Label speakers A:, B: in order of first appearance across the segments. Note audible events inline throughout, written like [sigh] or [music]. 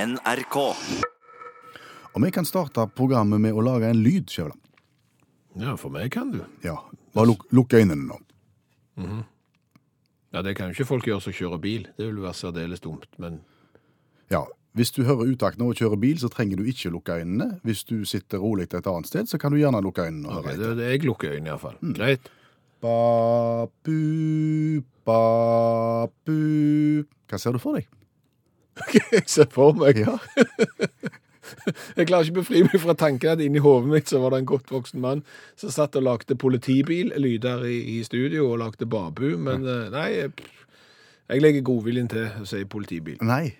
A: NRK.
B: Og vi kan starte programmet med å lage en lyd, Skjæveland.
C: Ja, for meg kan du.
B: Ja, bare lukk lukk øynene nå.
C: Ja, Det kan jo ikke folk gjøre som kjører bil. Det vil være særdeles dumt. Men
B: Ja, hvis du hører utaktene og kjører bil, så trenger du ikke lukke øynene. Hvis du sitter rolig et annet sted, så kan du gjerne lukke øynene og
C: Ok,
B: høre
C: det, det, jeg lukker øynene iallfall. Greit.
B: Ba, bu, ba, bu. Hva ser du for deg?
C: [laughs] Jeg ser for meg.
B: Ja.
C: Jeg klarer ikke å befri meg fra tanken at inni hodet mitt så var det en godt voksen mann som satt og lagde politibil-lyder i, i studio og lagde babu, men eh, nei Jeg, jeg legger godviljen til og sier politibil.
B: [laughs] Nei,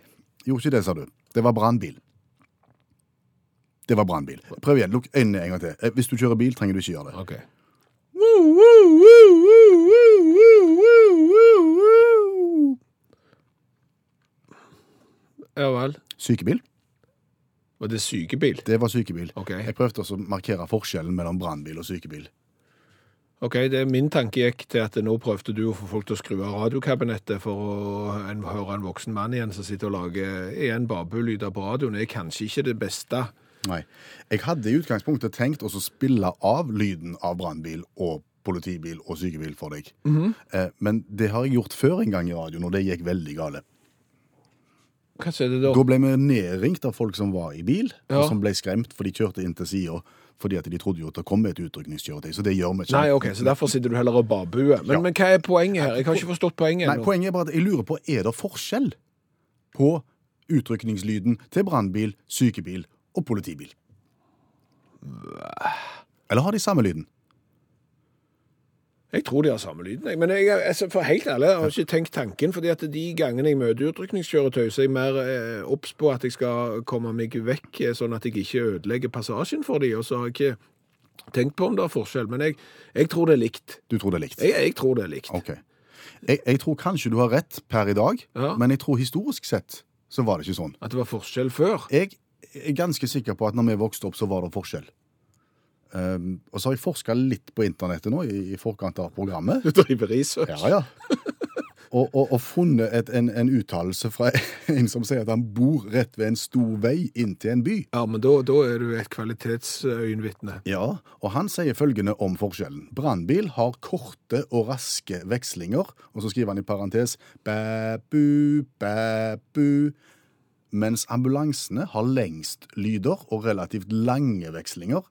B: gjorde ikke det, sa du. Det var brannbil. Det var brannbil. Prøv igjen. Lukk øynene en gang til. Eh, Hvis du kjører bil, trenger du ikke gjøre det.
C: Ok. Ja vel.
B: Sykebil?
C: Og det er sykebil.
B: Det var sykebil.
C: Ok.
B: Jeg prøvde også å markere forskjellen mellom brannbil og sykebil.
C: Ok, det er Min tanke gikk til at nå prøvde du å få folk til å skru av radiokabinettet for å en, høre en voksen mann igjen som sitter og lager igjen babelyder på radioen. Det er kanskje ikke det beste.
B: Nei. Jeg hadde i utgangspunktet tenkt å så spille av lyden av brannbil og politibil og sykebil for deg.
C: Mhm.
B: Eh, Men det har jeg gjort før en gang i radioen, og det gikk veldig gale.
C: Hva er det da?
B: Da ble vi nedringt av folk som var i bil,
C: Ja.
B: og som ble skremt, for de kjørte inn til sida fordi at de trodde jo at det kom et utrykningskjøretøy. Så det gjør vi ikke.
C: Nei, ok, så Derfor sitter du heller og babuer. Men,
B: Ja.
C: men hva er poenget her? Jeg har ikke forstått poenget
B: Nei,
C: ennå.
B: poenget er bare at jeg lurer på, er det forskjell på utrykningslyden til brannbil, sykebil og politibil? Eller har de samme lyden?
C: Jeg tror de har samme lyden, jeg. men jeg, altså, for helt ærlig, jeg har ikke tenkt tanken. fordi at de gangene jeg møter utrykningskjøretøy, så er jeg mer eh, obs på at jeg skal komme meg vekk, eh, sånn at jeg ikke ødelegger passasjen for de, og så har jeg ikke tenkt på om det er forskjell. Men jeg, jeg tror det er likt.
B: Du tror det er likt?
C: Jeg, jeg tror det er likt.
B: Ok. Jeg, jeg tror kanskje du har rett per i dag,
C: Ja.
B: men jeg tror historisk sett så var det ikke sånn.
C: At det var forskjell før. [laughs]
B: Jeg er ganske sikker på at når vi vokste opp, så var det forskjell. Um, og så har jeg forska litt på internettet nå i, i forkant av programmet.
C: Du driver research.
B: Ja, ja. Og, og, og funnet et, en, en uttalelse fra [laughs] en som sier at han bor rett ved en stor vei inn til en by.
C: Ja, men da, da er du et
B: [laughs]
C: kvalitetsøyenvitne.
B: Ja, og han sier følgende om forskjellen. Brannbil har korte og raske vekslinger, og så skriver han i parentes bæ-bu, bæ-bu, mens ambulansene har lengst lyder og relativt lange vekslinger.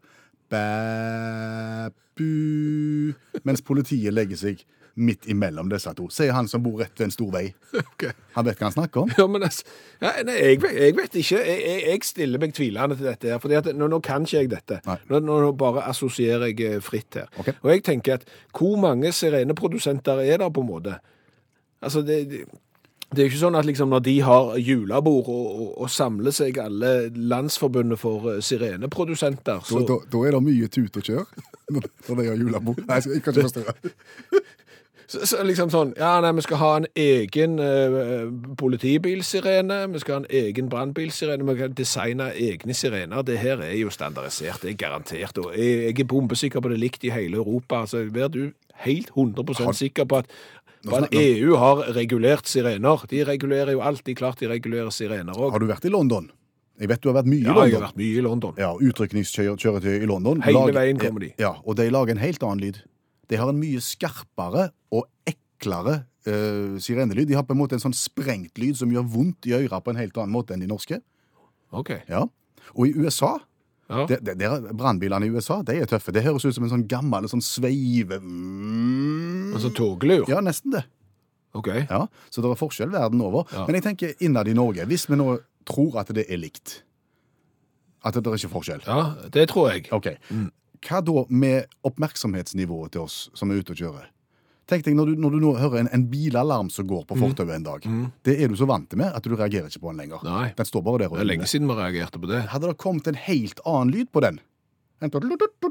B: Bæ-bu, mens politiet legger seg midt imellom disse to, sier han som bor rett ved en stor vei.
C: Ok.
B: Han vet hva han snakker om.
C: Ja, men altså, ja, nei, jeg, vet- jeg vet ikke. Jeg, jeg, jeg stiller meg tvilende til dette her, fordi at nå, nå kan ikke jeg dette.
B: Nei.
C: Nå, nå nå bare assosierer jeg eh, fritt her.
B: Ok.
C: Og jeg tenker at hvor mange sireneprodusenter er der på en måte? Altså, det... det det er jo ikke sånn at liksom når de har julebord og, og, og samler seg alle landsforbundet for eh, sireneprodusenter, [laughs] så...
B: Da, da, da er det mye tut og kjør [laughs] når når de har julebord. Nei, jeg kan ikke forstå det.
C: Så, så liksom sånn, ja nei, vi skal ha en egen eh, politibilsirene, vi skal ha en egen brannbilsirene, vi kan designe egne sirener. Det her er jo standardisert, det er garantert. Og jeg, jeg er bombesikker på det er likt i hele Europa. Altså, vær du helt 100 sikker på at, på at
B: snakker-
C: EU har regulert sirener. De regulerer jo alt. De er klart de regulerer sirener òg.
B: Har du vært i London? Jeg vet du har vært mye i
C: Ja, jeg har
B: London.
C: vært mye i London.
B: Ja, Utrykningskjøretøy i London.
C: Hele veien kommer de.
B: Ja, Og de lager en helt annen lyd. De har en mye skarpere og eklere eh, sirenelyd. De har på en måte en sånn sprengt lyd som gjør vondt i øra på en helt annen måte enn de norske.
C: Ok.
B: Ja. Og i USA
C: Ja.
B: det- det- der- Brannbilene i USA de er tøffe. Det høres ut som en sånn gammel sånn sveive
C: Altså toglur.
B: Ja, nesten det.
C: Ok.
B: Ja, Så det er forskjell verden over.
C: Ja.
B: Men jeg tenker innad i Norge, hvis vi nå tror at det er likt At det er ikke forskjell.
C: Ja, det tror jeg.
B: Ok. Hva da med oppmerksomhetsnivået til oss som er ute og kjører? Tenk deg, Når du, når du nå hører en, en bilalarm som går på fortauet en dag, det er du så vant med at du reagerer ikke på den lenger.
C: Mm, Nei.
B: Den står bare der og
C: Det er lenge siden vi reagerte på det.
B: Hadde det kommet en helt annen lyd på den, en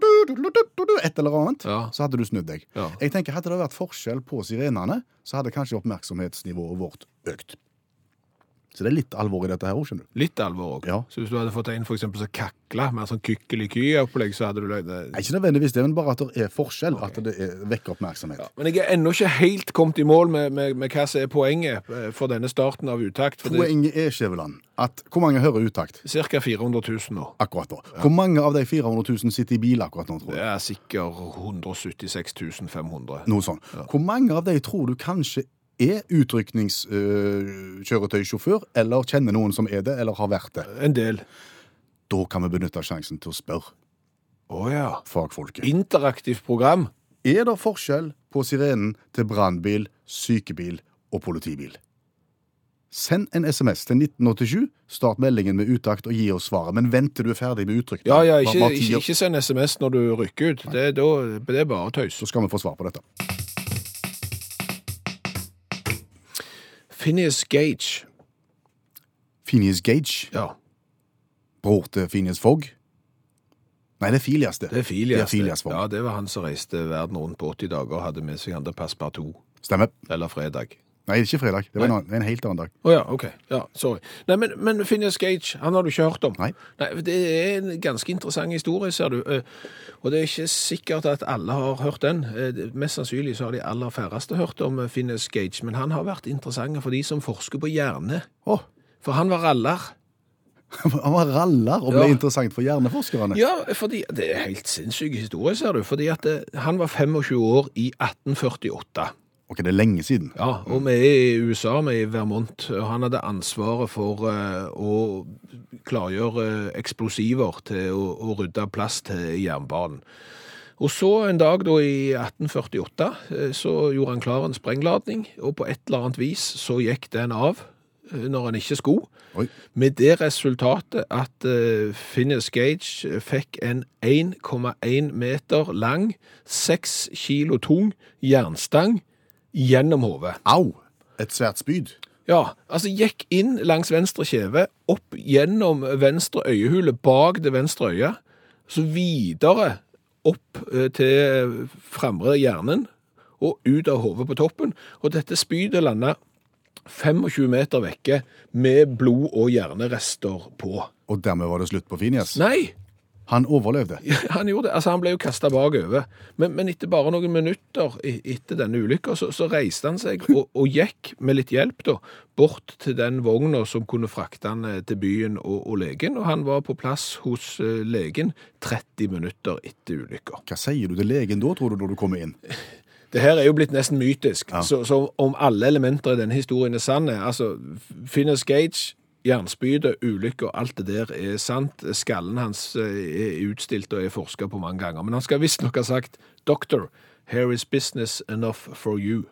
B: tut-tut-tut-tut-tut-tut-tut, et eller annet,
C: Ja.
B: så hadde du snudd deg.
C: Ja.
B: Jeg tenker, Hadde det vært forskjell på sirenene, så hadde kanskje oppmerksomhetsnivået vårt økt. Så det er litt alvor i dette her òg, skjønner du.
C: Litt alvor òg.
B: Ja.
C: Så hvis du hadde fått en for eksempel som kakla, mer sånn kykkeliky-opplegg, så hadde du løyd det.
B: Nei, Ikke nødvendigvis det, men bare at det er forskjell. At det er, vekker oppmerksomhet.
C: Ja, men jeg er ennå ikke helt kommet i mål med, med, med hva som er poenget eh, for denne starten av utakt. For det
B: Poenget er, E. Skjæveland, at hvor mange hører utakt
C: er ca. 400 000 nå.
B: akkurat nå? Hvor mange av de 400 000 sitter i bil akkurat nå, tror
C: Det
B: du?
C: er sikkert 176 500.
B: Noe sånn. Hvor mange av de tror du kanskje er utrykningskjøretøysjåfør, eller kjenner noen som er det, eller har vært det?
C: En del.
B: Da kan vi benytte sjansen til å spørre
C: Å ja.
B: fagfolket.
C: Interaktivt program.
B: Er det forskjell på sirenen til brannbil, sykebil og politibil? Send en SMS til 1987, start meldingen med utakt og gi oss svaret. Men vent til du er ferdig med uttrykket.
C: Ja, ja,
B: Hva- hva
C: ikke,
B: tid-
C: ikke, ikke send SMS når du rykker ut. Det, er da, det er bare tøys.
B: Så skal vi få svar på dette.
C: Phineas Gage.
B: Phineas Gage,
C: Ja,
B: bror til Phineas Fogg. Nei, det er Filias, det.
C: det er Filias.
B: Det er Filias Fogg.
C: Ja, det var han som reiste verden rundt på 80 dager og hadde med seg han til Passepartout,
B: Stemmer.
C: eller Fredag.
B: Nei, det er ikke fredag. Det var en, annen, det er en helt annen dag.
C: Å ja, ok. Ja, sorry. Nei, men, men Phineas Gage, han har du ikke hørt om?
B: Nei.
C: Det er en ganske interessant historie, ser du. Eh, Og det er ikke sikkert at alle har hørt den. Eh, det- Mest sannsynlig så har de aller færreste hørt om eh, Phineas Gage, men han har vært interessant for de som forsker på hjerne.
B: Å,
C: For han var raller.
B: [laughs] han var raller og ble
C: Ja.
B: interessant for hjerneforskerne.
C: Ja, fordi Det er helt sinnssyk historie, ser du. Fordi at eh, han var 25 år i 1848.
B: Ok, det er lenge siden.
C: Ja, Og vi er i USA, vi er i Vermont. og Han hadde ansvaret for eh, å klargjøre eh, eksplosiver til å, å rydde plass til jernbanen. Og så en dag da i 1848 eh, så gjorde han klar en sprengladning, og på et eller annet vis så gikk den av eh, når han ikke skulle.
B: Oi.
C: Med det resultatet at eh, Finnes Gage fikk en 1,1 meter lang, 6 kilo tung jernstang gjennom hodet.
B: Au! Et svært spyd.
C: Ja, altså gikk inn langs venstre kjeve, opp gjennom venstre øyehule, bak det venstre øyet, så videre opp eh, til fremre hjernen, og ut av hodet på toppen. Og dette spydet landet 25 meter vekke, med blod og hjernerester på.
B: Og dermed var det slutt på Phineas.
C: Nei,
B: Han overlevde.
C: han gjorde det. Altså, han ble jo kasta bakover. Men, men etter bare noen minutter i- etter denne ulykka, så, så reiste han seg og, og gikk, med litt hjelp, da, bort til den vogna som kunne frakte han eh, til byen og, og legen. Og han var på plass hos eh, legen 30 minutter etter ulykka.
B: Hva sier du til legen da, tror du, når du kommer inn? [laughs]
C: Det her er jo blitt nesten mytisk. Så, så om alle elementer i denne historien er sanne altså, Finnes Gage, jernspydet, ulykker, alt det der er sant. Skallen hans eh, er utstilt og er forska på mange ganger. Men han skal visstnok ha sagt 'Doctor, here is business enough for you'.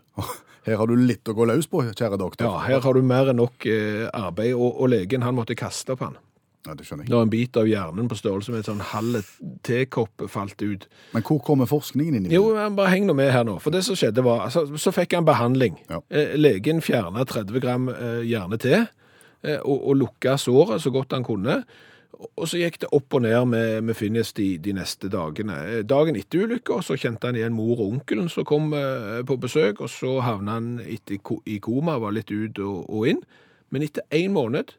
B: Her har du litt å gå løs på, kjære doktor.
C: Ja, her har du mer enn nok eh, arbeid, og, og legen han måtte kaste på han.
B: Ja, det skjønner jeg.
C: Når en bit av hjernen på størrelse med en sånn halv tekopp falt ut.
B: Men hvor kommer forskningen inn i det?
C: Jo, men bare heng nå med her nå. For det som skjedde var, altså, så fikk han behandling.
B: Ja.
C: Eh, Legen fjernet 30 gram eh, hjerne til, eh, og, og lukket såret så godt han kunne. Og så gikk det opp og ned med, med Finnes de, de neste dagene. Eh, Dagen etter ulykka så kjente han igjen mor og onkelen som kom eh, på besøk, og så havna han etter, ko- i koma, var litt ut og, og inn. Men etter én måned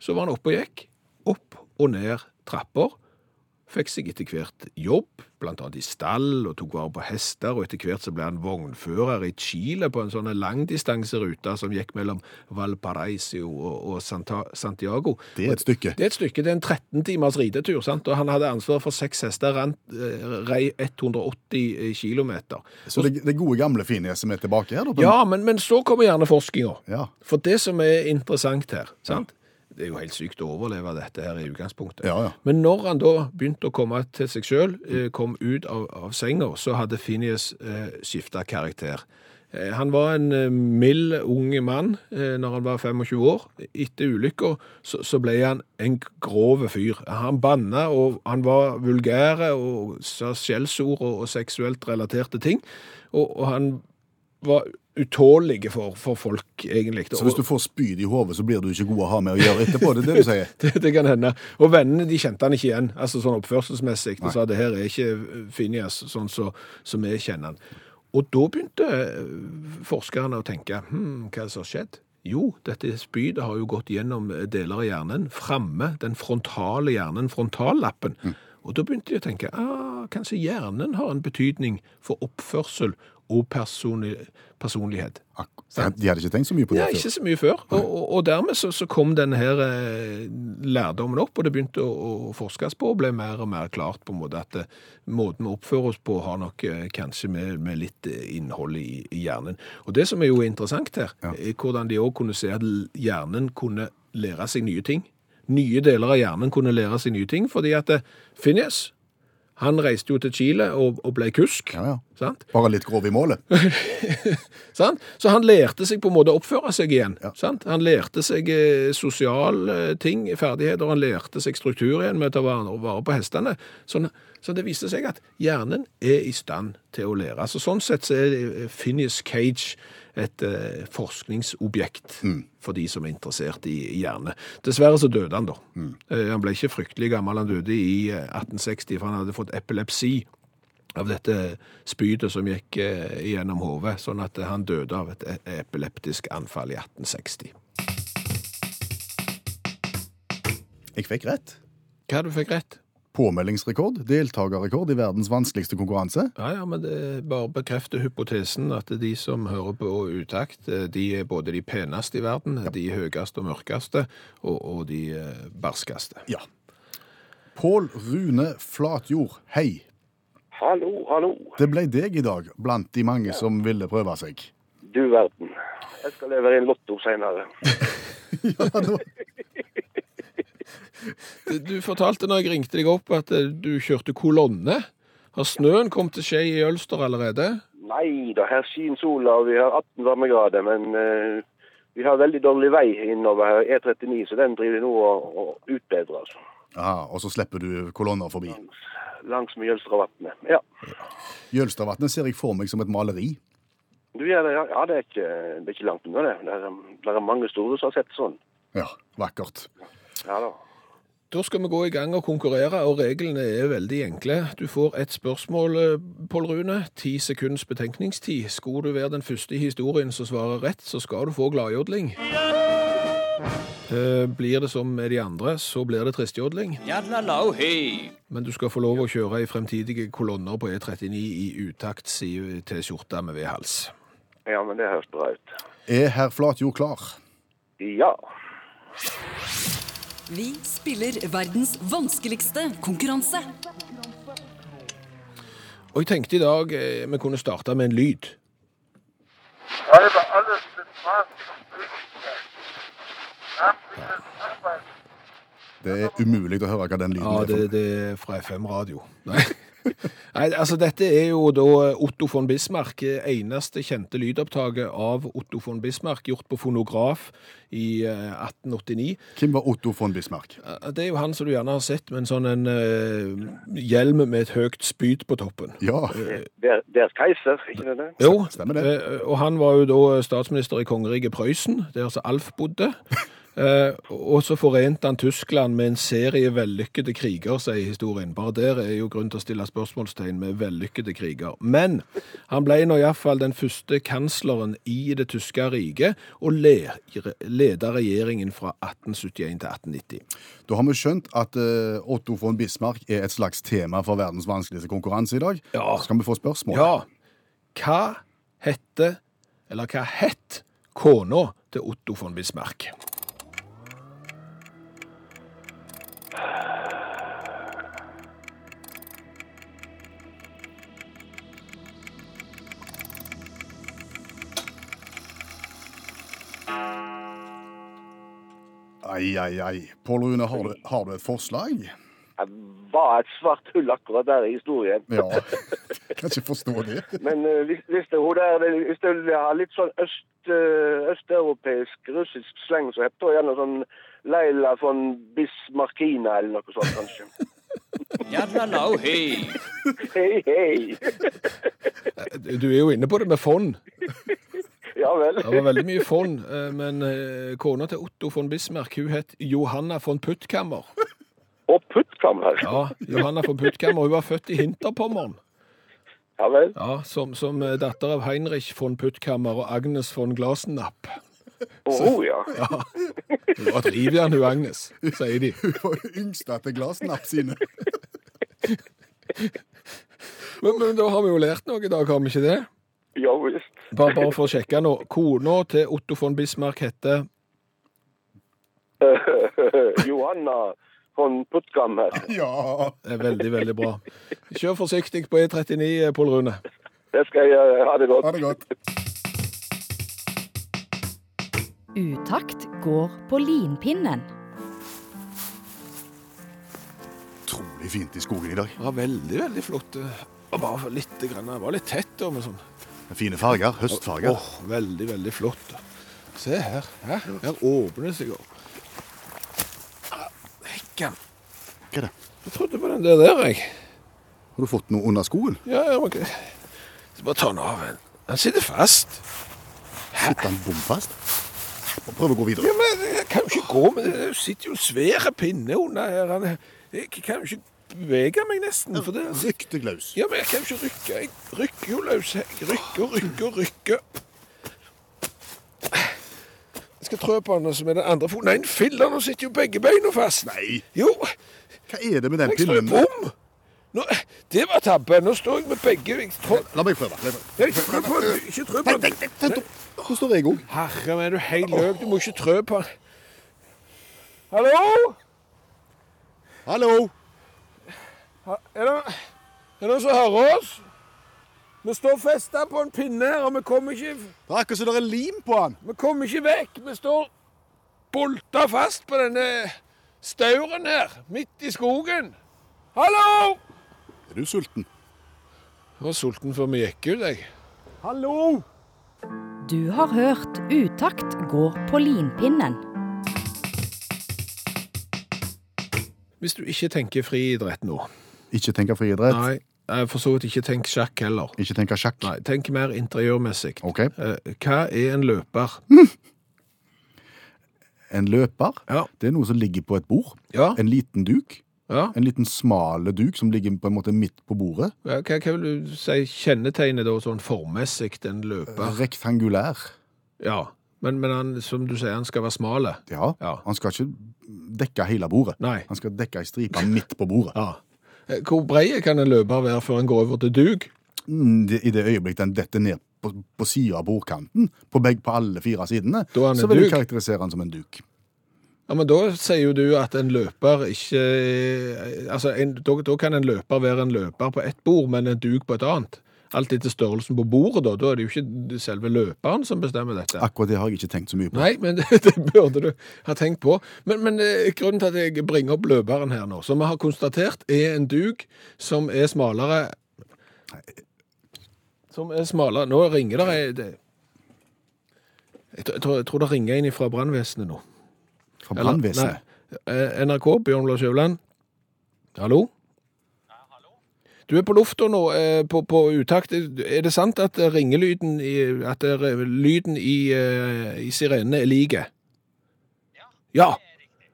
C: så var han oppe og gikk. Opp og ned trapper. Fikk seg etter hvert jobb, blant annet i stall, og tok vare på hester, og etter hvert så ble han vognfører i Chile på en sånn langdistanserute som gikk mellom Valparaiso og, og Santa, Santiago.
B: Det er et stykke.
C: Det er et stykke, det er en 13 timers ridetur, sant? og han hadde ansvar for seks hester, rant, eh, rei 180 kilometer.
B: Så det, det gode gamle Phineas som er tilbake her, da? på en-
C: Ja, men, men så kommer gjerne forskninga.
B: ja.
C: For det som er interessant her, sant? det er jo helt sykt å overleve dette her i utgangspunktet.
B: Ja, ja.
C: Men når han da begynte å komme til seg sjøl, kom ut av, av senga, så hadde Phineas eh, skifta karakter. Eh, Han var en eh, mild, ung mann eh, når han var 25 år. Etter ulykka så, så ble han en grov fyr. Han banna, og han var vulgær og sa skjellsord og, og seksuelt relaterte ting. Og, og han var utålelig for, for folk, egentlig.
B: Så hvis du får spyd i hodet, så blir du ikke god å ha med å gjøre etterpå? Det er det du
C: [laughs]
B: sier?
C: Det, det kan hende. Og vennene de kjente han ikke igjen, altså sånn oppførselsmessig. De sa det her er ikke Phineas sånn som så, vi kjenner han. Og da begynte eh, forskerne å tenke hm, hva er det som har skjedd? Jo, dette spydet har jo gått gjennom eh, deler av hjernen, framme, den frontale hjernen, frontallappen. Og da begynte de å tenke, ah, kanskje hjernen har en betydning for oppførsel og personi personlighet.
B: Ak de hadde ikke tenkt så mye på det
C: Ja,
B: før.
C: ikke så mye før. Og, og, og dermed så, så kom denne her eh, lærdommen opp, og det begynte å, å forskes på, og ble mer og mer klart på en måte at eh, måten vi oppfører oss på har nok eh, kanskje med, med litt eh, innhold i, i hjernen. Og det som er jo interessant her, er hvordan de også kunne se at l- hjernen kunne lære seg nye ting. Nye deler av hjernen kunne lære seg nye ting, fordi at eh, Phineas, han reiste jo til Chile og, og ble kusk.
B: Ja, ja.
C: Sant?
B: Bare litt grov i målet.
C: Sant? Så han lærte seg på en måte å oppføre seg igjen.
B: Ja.
C: Sant? Han lærte seg eh, sosiale ting, ferdigheter, han lærte seg struktur igjen med å ta vare vare på hestene. Sånn, så det viste seg at hjernen er i stand til å lære. Så sånn sett så er eh, Phineas Cage et eh, forskningsobjekt for de som er interessert i hjerne. Dessverre så døde han da. Eh, han ble ikke fryktelig gammel, han døde i eh, 1860, for han hadde fått epilepsi av dette spydet som gikk eh, gjennom hodet, sånn at eh, han døde av et e- epileptisk anfall i 1860.
B: Jeg fikk rett.
C: Hva du fikk rett?
B: Påmeldingsrekord, deltakerrekord i verdens vanskeligste konkurranse.
C: Ja, ja, men det bare bekrefter hypotesen at de som hører på utakt, eh, de er både de peneste i verden, de høyeste og mørkeste, og, og de eh, barskeste.
B: Ja. Pål Rune Flatjord, hei.
A: Hallo, hallo.
B: Det ble deg i dag blant de mange som ville prøve seg. [laughs]
A: Du verden. Jeg skal levere inn Lotto senere.
C: Du fortalte når jeg ringte deg opp at eh, du kjørte kolonne. Har snøen kommet til Skei i Ølster allerede?
A: Nei da, her skinner sola, og vi har 18 varmegrader. Men eh, vi har veldig dårlig vei innover her, E39, så den driver nå og, og utbedrer. Altså.
B: Aha, og så slipper du kolonner forbi.
A: Langs med Jølstravatnet. Ja.
B: Jølstadvatnet ser jeg for meg som et maleri.
A: Du, ja, det, ja det, er ikke, det er ikke langt unna, det. Det er, det er mange store som har sett sånn.
B: Ja, vakkert.
A: Ja da.
C: Da skal vi gå i gang og konkurrere, og reglene er veldig enkle. Du får et spørsmål, eh, Pål Rune. Ti sekunds betenkningstid. Skulle du være den første i historien som svarer rett, så skal du få gladjodling. Eh, Blir det som med de andre, så blir det tristjodling.
D: Yadlalau hey,
C: Men du skal få lov å kjøre i fremtidige kolonner på E39 i utakt, sier T-skjorta med V-hals.
A: Ja, men det høres bra ut.
B: Er herr Flatjord klar?
A: Ja.
E: Vi spiller verdens vanskeligste konkurranse.
C: Og jeg tenkte i dag eh, vi kunne starte med en lyd.
F: Halbe alles mit maßigem Möglichkeit. Amtliches Anweisung.
B: Det er umulig å høre hva den lyden
C: Ja,
B: er.
C: det,
B: for-
C: det er fra FM Radio. Nei. [laughs] Nei, altså dette er jo da Otto von Bismarck, eneste kjente lydopptaket av Otto von Bismarck, gjort på fonograf i eh, 1889.
B: Hvem var Otto von Bismarck?
C: Eh, Det er jo han som du gjerne har sett med en sånn en, eh, hjelm med et høyt spyd på toppen.
B: Ja,
A: Der, deres keiser, ikke det? det?
C: Jo,
B: Stemmer det.
C: eh, og han var jo da statsminister i kongeriket Prøysen, der som Alf bodde. Eh, og så forente han Tyskland med en serie vellykkede kriger, sier historien. Bare der er jo grunn til å stille spørsmålstegn med vellykkede kriger. Men han ble nå iallfall den første kansleren i det tyske riket, og le leda regjeringen fra 1871 til 1890.
B: Da har vi skjønt at eh, Otto von Bismarck er et slags tema for verdens vanskeligste konkurranse i dag.
C: Ja.
B: Så kan vi få spørsmål.
C: Ja. Hva hette, eller hva het kona til Otto von Bismarck?
B: Ai, ai, ai. Pål Rune, har du, har du et forslag?
A: Det var et svart hull akkurat der i historien.
C: [laughs]
B: Ja. Jeg kan ikke forstå det.
A: Men eh, hvis, hvis det er hun der det- Hvis det vil ha litt sånn øst, eh, østeuropeisk, russisk sleng, så heter hun gjerne sånn Leila von Bismarkina eller noe sånt, [laughs] kanskje.
D: yadlalau hey,
A: Hei, hei!
C: Du er jo inne på det med fond.
A: Ja vel.
C: Det var veldig mye fond, eh, men eh, kona til Otto von Bismarck hun het Johanna von Puttkammer.
A: Og puttkammer.
C: Ja, Johanna von Puttkammer, hun var født i Hinterpommern.
A: Ja vel.
C: Ja, som, som eh, datter av Heinrich von Puttkammer og Agnes von Glasenapp.
A: Å, ho, ja.
C: Hun var et rivjern, hun Agnes, sier de.
B: Hun var yngsta til glassnapp sine.
C: Men, men da har vi jo lært noe i dag, har vi ikke det?
A: Ja visst. [laughs]
C: Bare, bare for å sjekke nå. Kona til Otto von Bismarck heter
A: Johanna von Puttgammer.
B: Ja.
C: Det er eh, Veldig, veldig bra. Kjør forsiktig på E39, eh, Pål Rune.
A: Det skal jeg gjøre. Ha det godt.
B: Ha det godt.
G: Utakt går på linpinnen.
B: Utrolig fint i skogen i dag.
C: Det var veldig, veldig flott. Det var bare litt, grann- det var litt tett. da, men sånn.
B: Fine farger. Høstfarger.
C: Åh, veldig, veldig flott. Se her. Her, her åpner det seg opp. Ah, Hekken.
B: Hva er det?
C: Jeg trodde på den der der, jeg.
B: Har du fått noe under skoen?
C: Ja, ja, ok. Så bare ta den av. Den sitter fast.
B: Sitter den bomfast? Og prøv å gå
C: Ja,
B: videre.
C: men jeg kan jo ikke gå med det. Det sitter jo en svære pinne under her. Han- Jeg kan jo ikke bevege meg nesten. For det,
B: Rykk deg løs.
C: Ja, men jeg kan jo ikke rykke. Jeg rykker jo løs. Jeg rykker, rykker, rykker. Jeg skal trø på den som er den andre foten. Nei, filler, nå sitter jo begge beina fast.
B: Nei.
C: Jo,
B: Hva er det med den
C: jeg står jo
B: pinnen?
C: bom. Nå, det var tabbe. Nå står jeg med begge jeg trå-
B: La meg prøve. La meg prøve.
C: Nei, Ikke trø på den. Ikke trø på
B: Nei, nei,
C: den.
B: nei, vent opp. Nå står jeg òg.
C: Herre, men er du helt løk? Du må ikke trø på den. Hallo?
B: Hallo!
C: Er det, er det noen som hører oss? Vi står festa på en pinne her, og vi kommer ikke
B: Det er akkurat som det er lim på han.
C: Vi kommer ikke vekk. Vi står bolta fast på denne stauren her, midt i skogen. Hallo!
B: Er du sulten?
C: Jeg var sulten før vi gikk ut, jeg.
B: Hallo!
G: Du har hørt Utakt går på linpinnen.
C: Hvis du ikke tenker friidrett nå
B: Ikke tenke friidrett.
C: Nei, eh, for så vidt ikke tenk sjakk heller.
B: Ikke tenke sjakk.
C: Nei, tenk mer interiørmessig.
B: OK. Mm.
C: Eh, Hva er en løper?
B: En løper,
C: Ja.
B: det er noe som ligger på et bord.
C: Ja.
B: En liten duk.
C: ja.
B: En liten smale duk som ligger på en måte midt på bordet.
C: Hva, hva vil du si kjennetegnet da sånn formmessig en løper?
B: Rektangulær.
C: Ja, men, men han, som du sier, han skal være smale.
B: Ja.
C: Ja.
B: Han skal ikke dekke hele bordet.
C: Nei.
B: Han skal dekke ei stripe midt på bordet.
C: Ja. Eh, Hvor brei kan en løper være før han går over til dug?
B: Mm, det- I det øyeblikk den detter ned på, på sida av bordkanten, på, begge, på alle fire sidene,
C: Da er han en
B: så vil jeg
C: duk.
B: karakterisere han som en duk.
C: Ja, men Da sier jo du at en løper ikke Altså, en, da, da kan en løper være en løper på ett bord, men en duk på et annet. Alt etter størrelsen på bordet, da. Da er det jo ikke selve løperen som bestemmer dette.
B: Akkurat det har jeg ikke tenkt så mye på.
C: Nei, men [laughs] det, det burde du ha tenkt på. Men, men eh, grunnen til at jeg bringer opp løperen her nå, som vi har konstatert er en duk som er smalere Som er smalere Nå ringer det ei- det- jeg, tror- jeg, tror- jeg tror det ringer inn fra brannvesenet nå.
B: Fra
C: Eller-
B: brannvesenet.
C: nei. Eh, NRK, Bjørn Lars Jøvland. Hallo? Du er på lufta nå, eh, på, på utakt. Er det sant at ringelyden i, at det er lyden i, eh, i sirenene er like? Ja.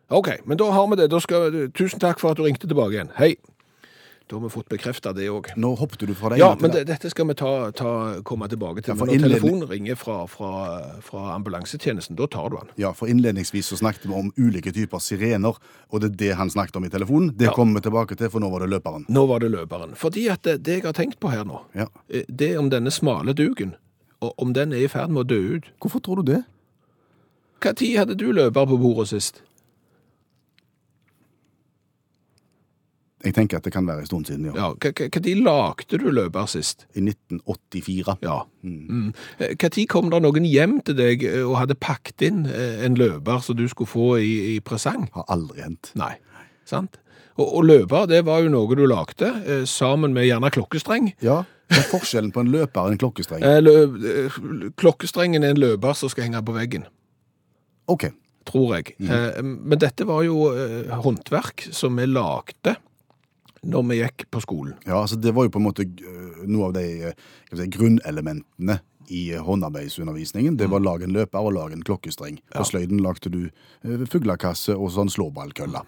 C: OK, men da har vi det. Da skal, tusen takk for at du ringte tilbake igjen. Hei. Da har vi fått bekrefta det òg.
B: Nå hoppet du fra det
C: Ja,
B: ene
C: men
B: til
C: det, dette skal vi ta, ta, komme tilbake til.
B: Ja, for
C: Men når
B: innledning-
C: telefonen ringer fra, fra, fra ambulansetjenesten, da tar du den.
B: Ja, for innledningsvis så snakket vi om ulike typer sirener, og det er det han snakket om i telefonen. Det
C: Ja.
B: kommer vi tilbake til, for nå var det løperen.
C: Nå var det løperen. Fordi at det, det jeg har tenkt på her nå,
B: Ja.
C: eh, det er om denne smale duken, og om den er i ferd med å dø ut.
B: Hvorfor tror du det?
C: Hva tid hadde du løper på bordet sist?
B: Jeg tenker at det kan være en stund siden, ja.
C: Ja, hva, hva hva tid lagde du løper sist?
B: I 1984.
C: Ja. Mm. Eh, Hva tid kom det noen hjem til deg eh, og hadde pakket inn eh, en løper som du skulle få i, i presang?
B: Har aldri hendt.
C: Nei, sant? Og, og løper, det var jo noe du lagde, eh, sammen med gjerne klokkestreng.
B: Ja, hva er forskjellen på en løper og en klokkestreng?
C: Eh, lø- eh, Klokkestrengen er en løper som skal henge på veggen.
B: Ok,
C: tror jeg.
B: Mhm.
C: Eh, men dette var jo eh, håndverk som vi lagde når vi gikk på skolen.
B: ja, altså det var jo på en måte øh, noe av de øh, skal vi si, grunnelementene i øh, håndarbeidsundervisningen. Det var lag en løper og lag en klokkestreng. På sløyden lagte du øh, fuglekasse og sånn slåballkølla.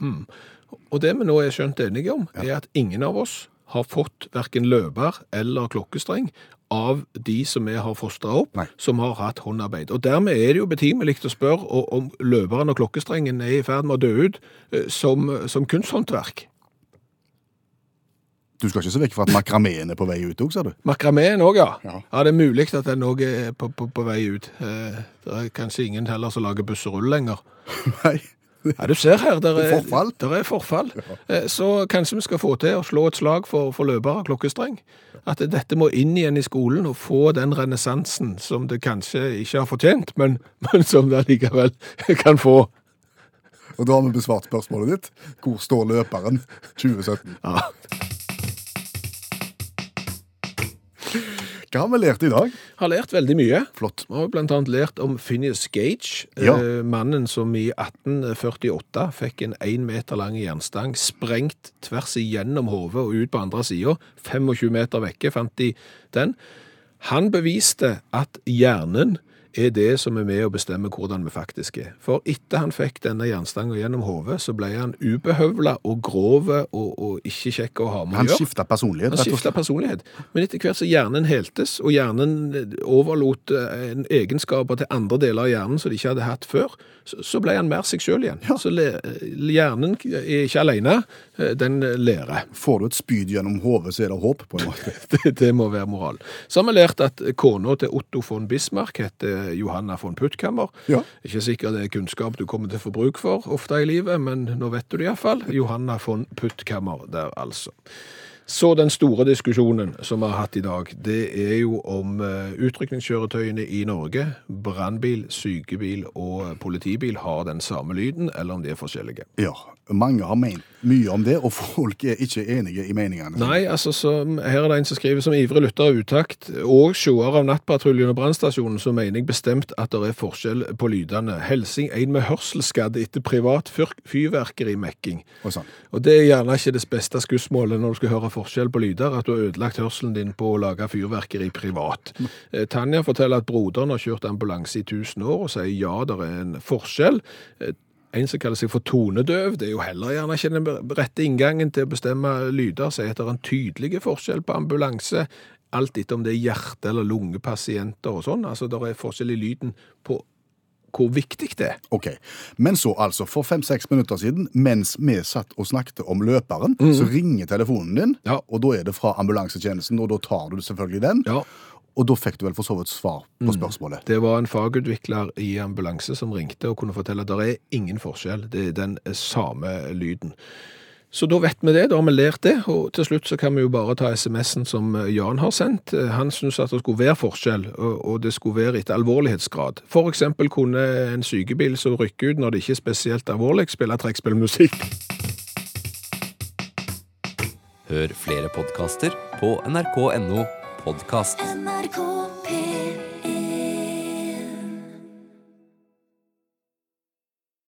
C: Og det vi nå er skjønt enige om, er at ingen av oss har fått verken løper eller klokkestreng av de som vi har fostra opp,
B: Nei.
C: som har hatt håndarbeid. Og dermed er det jo betimelig å spørre o- om løperen og klokkestrengen er i ferd med å dø ut eh, som, som kunsthåndverk.
B: Du skal ikke se vekk fra at makrameen er på vei ut òg, sa du?
C: Makrameen òg, ja.
B: Ja.
C: ja. Det er mulig at den òg er på, på, på vei ut. Eh, det er kanskje ingen heller som lager busserull lenger.
B: [laughs] Nei.
C: Ja, du ser her, der
B: Det
C: er
B: er forfall.
C: Der er forfall. Eh, Så kanskje vi skal få til å slå et slag for, for løpere og klokkestreng. At dette må inn igjen i skolen og få den renessansen som det kanskje ikke har fortjent, men, [laughs] men som det likevel kan få.
B: Og da har vi besvart spørsmålet ditt. Hvor står løperen 2017?
C: Ja.
B: Hva har vi lært i dag?
C: Har lært veldig mye.
B: Flott.
C: Vi har jo blant annet lært om Phineas Gage,
B: Ja.
C: eh, mannen som i 1848 fikk en én meter lang jernstang sprengt tvers igjennom hodet og ut på andre sida. 25 meter vekke fant de den. Han beviste at hjernen er det som er med å bestemme hvordan vi faktisk er. For etter han fikk denne jernstanga gjennom hodet, så ble han ubehøvla og grov og, og ikke kjekk å ha med å
B: Han
C: gjøre.
B: skifta personlighet,
C: Han
B: rett og
C: skifta
B: slett.
C: personlighet. Men etter hvert som hjernen heltes, og hjernen overlot eh, en egenskaper til andre deler av hjernen som de ikke hadde hatt før, så, så ble han mer seg sjøl igjen. Så le, eh, hjernen er ikke aleine, den lærer.
B: Får du et spyd gjennom hodet, så er det håp, på en måte.
C: [laughs] Det, det må være moral. Så har vi lært at kona til Otto von Bismarck heter Johanna von Puttkammer.
B: Ja.
C: Ikke sikkert det er kunnskap du kommer til å få bruk for ofte i livet, men nå vet du det iallfall. Johanna von Puttkammer der, altså. Så den store diskusjonen som vi har hatt i dag, det er jo om eh, utrykningskjøretøyene i Norge, brannbil, sykebil og politibil, har den samme lyden, eller om de er forskjellige.
B: Ja, mange har ment mye om det, og folk er ikke enige i meningene.
C: Nei, altså som, her er det en som skriver som ivre lytter av utakt, og seere av Nattpatruljen og Brannstasjonen, så mener jeg bestemt at det er forskjell på lydene. Helsing en med hørselsskadde etter privat fyr- fyrverkerimekking.
B: Og sånn.
C: Og det er gjerne ikke det beste skussmålet når du skal høre forskjell på lyder, at du har ødelagt hørselen din på å lage fyrverkeri privat. Eh, Tanja forteller at broderen har kjørt ambulanse i tusen år, og sier ja, det er en forskjell. Eh, En som kaller seg for tonedøv, det er jo heller gjerne ikke den rette inngangen til å bestemme lyder, sier at det er en tydelig forskjell på ambulanse, alt etter om det er hjerte- eller lungepasienter og sånn. Altså, det er forskjell i lyden på hvor viktig det er.
B: Ok, Men så, altså, for fem-seks minutter siden, mens vi satt og snakket om løperen, så ringer telefonen din,
C: Mhm. Ja.
B: og da er det fra ambulansetjenesten, og da tar du selvfølgelig den.
C: Ja, Mm.
B: Og da fikk du vel for så vidt svar på spørsmålet.
C: Det var en fagutvikler i ambulanse som ringte og kunne fortelle at det er ingen forskjell, det er den eh, samme lyden. Så da vet vi det, da har vi lært det, og til slutt så kan vi jo bare ta sms-en som eh, Jan har sendt. Han syntes at det skulle være forskjell, og og det skulle være etter alvorlighetsgrad. For eksempel kunne en sykebil som rykker ut når det ikke er spesielt alvorlig, spille trekkspillmusikk.
H: Hør flere podkaster på nrk.no podkast.
I: NRK P1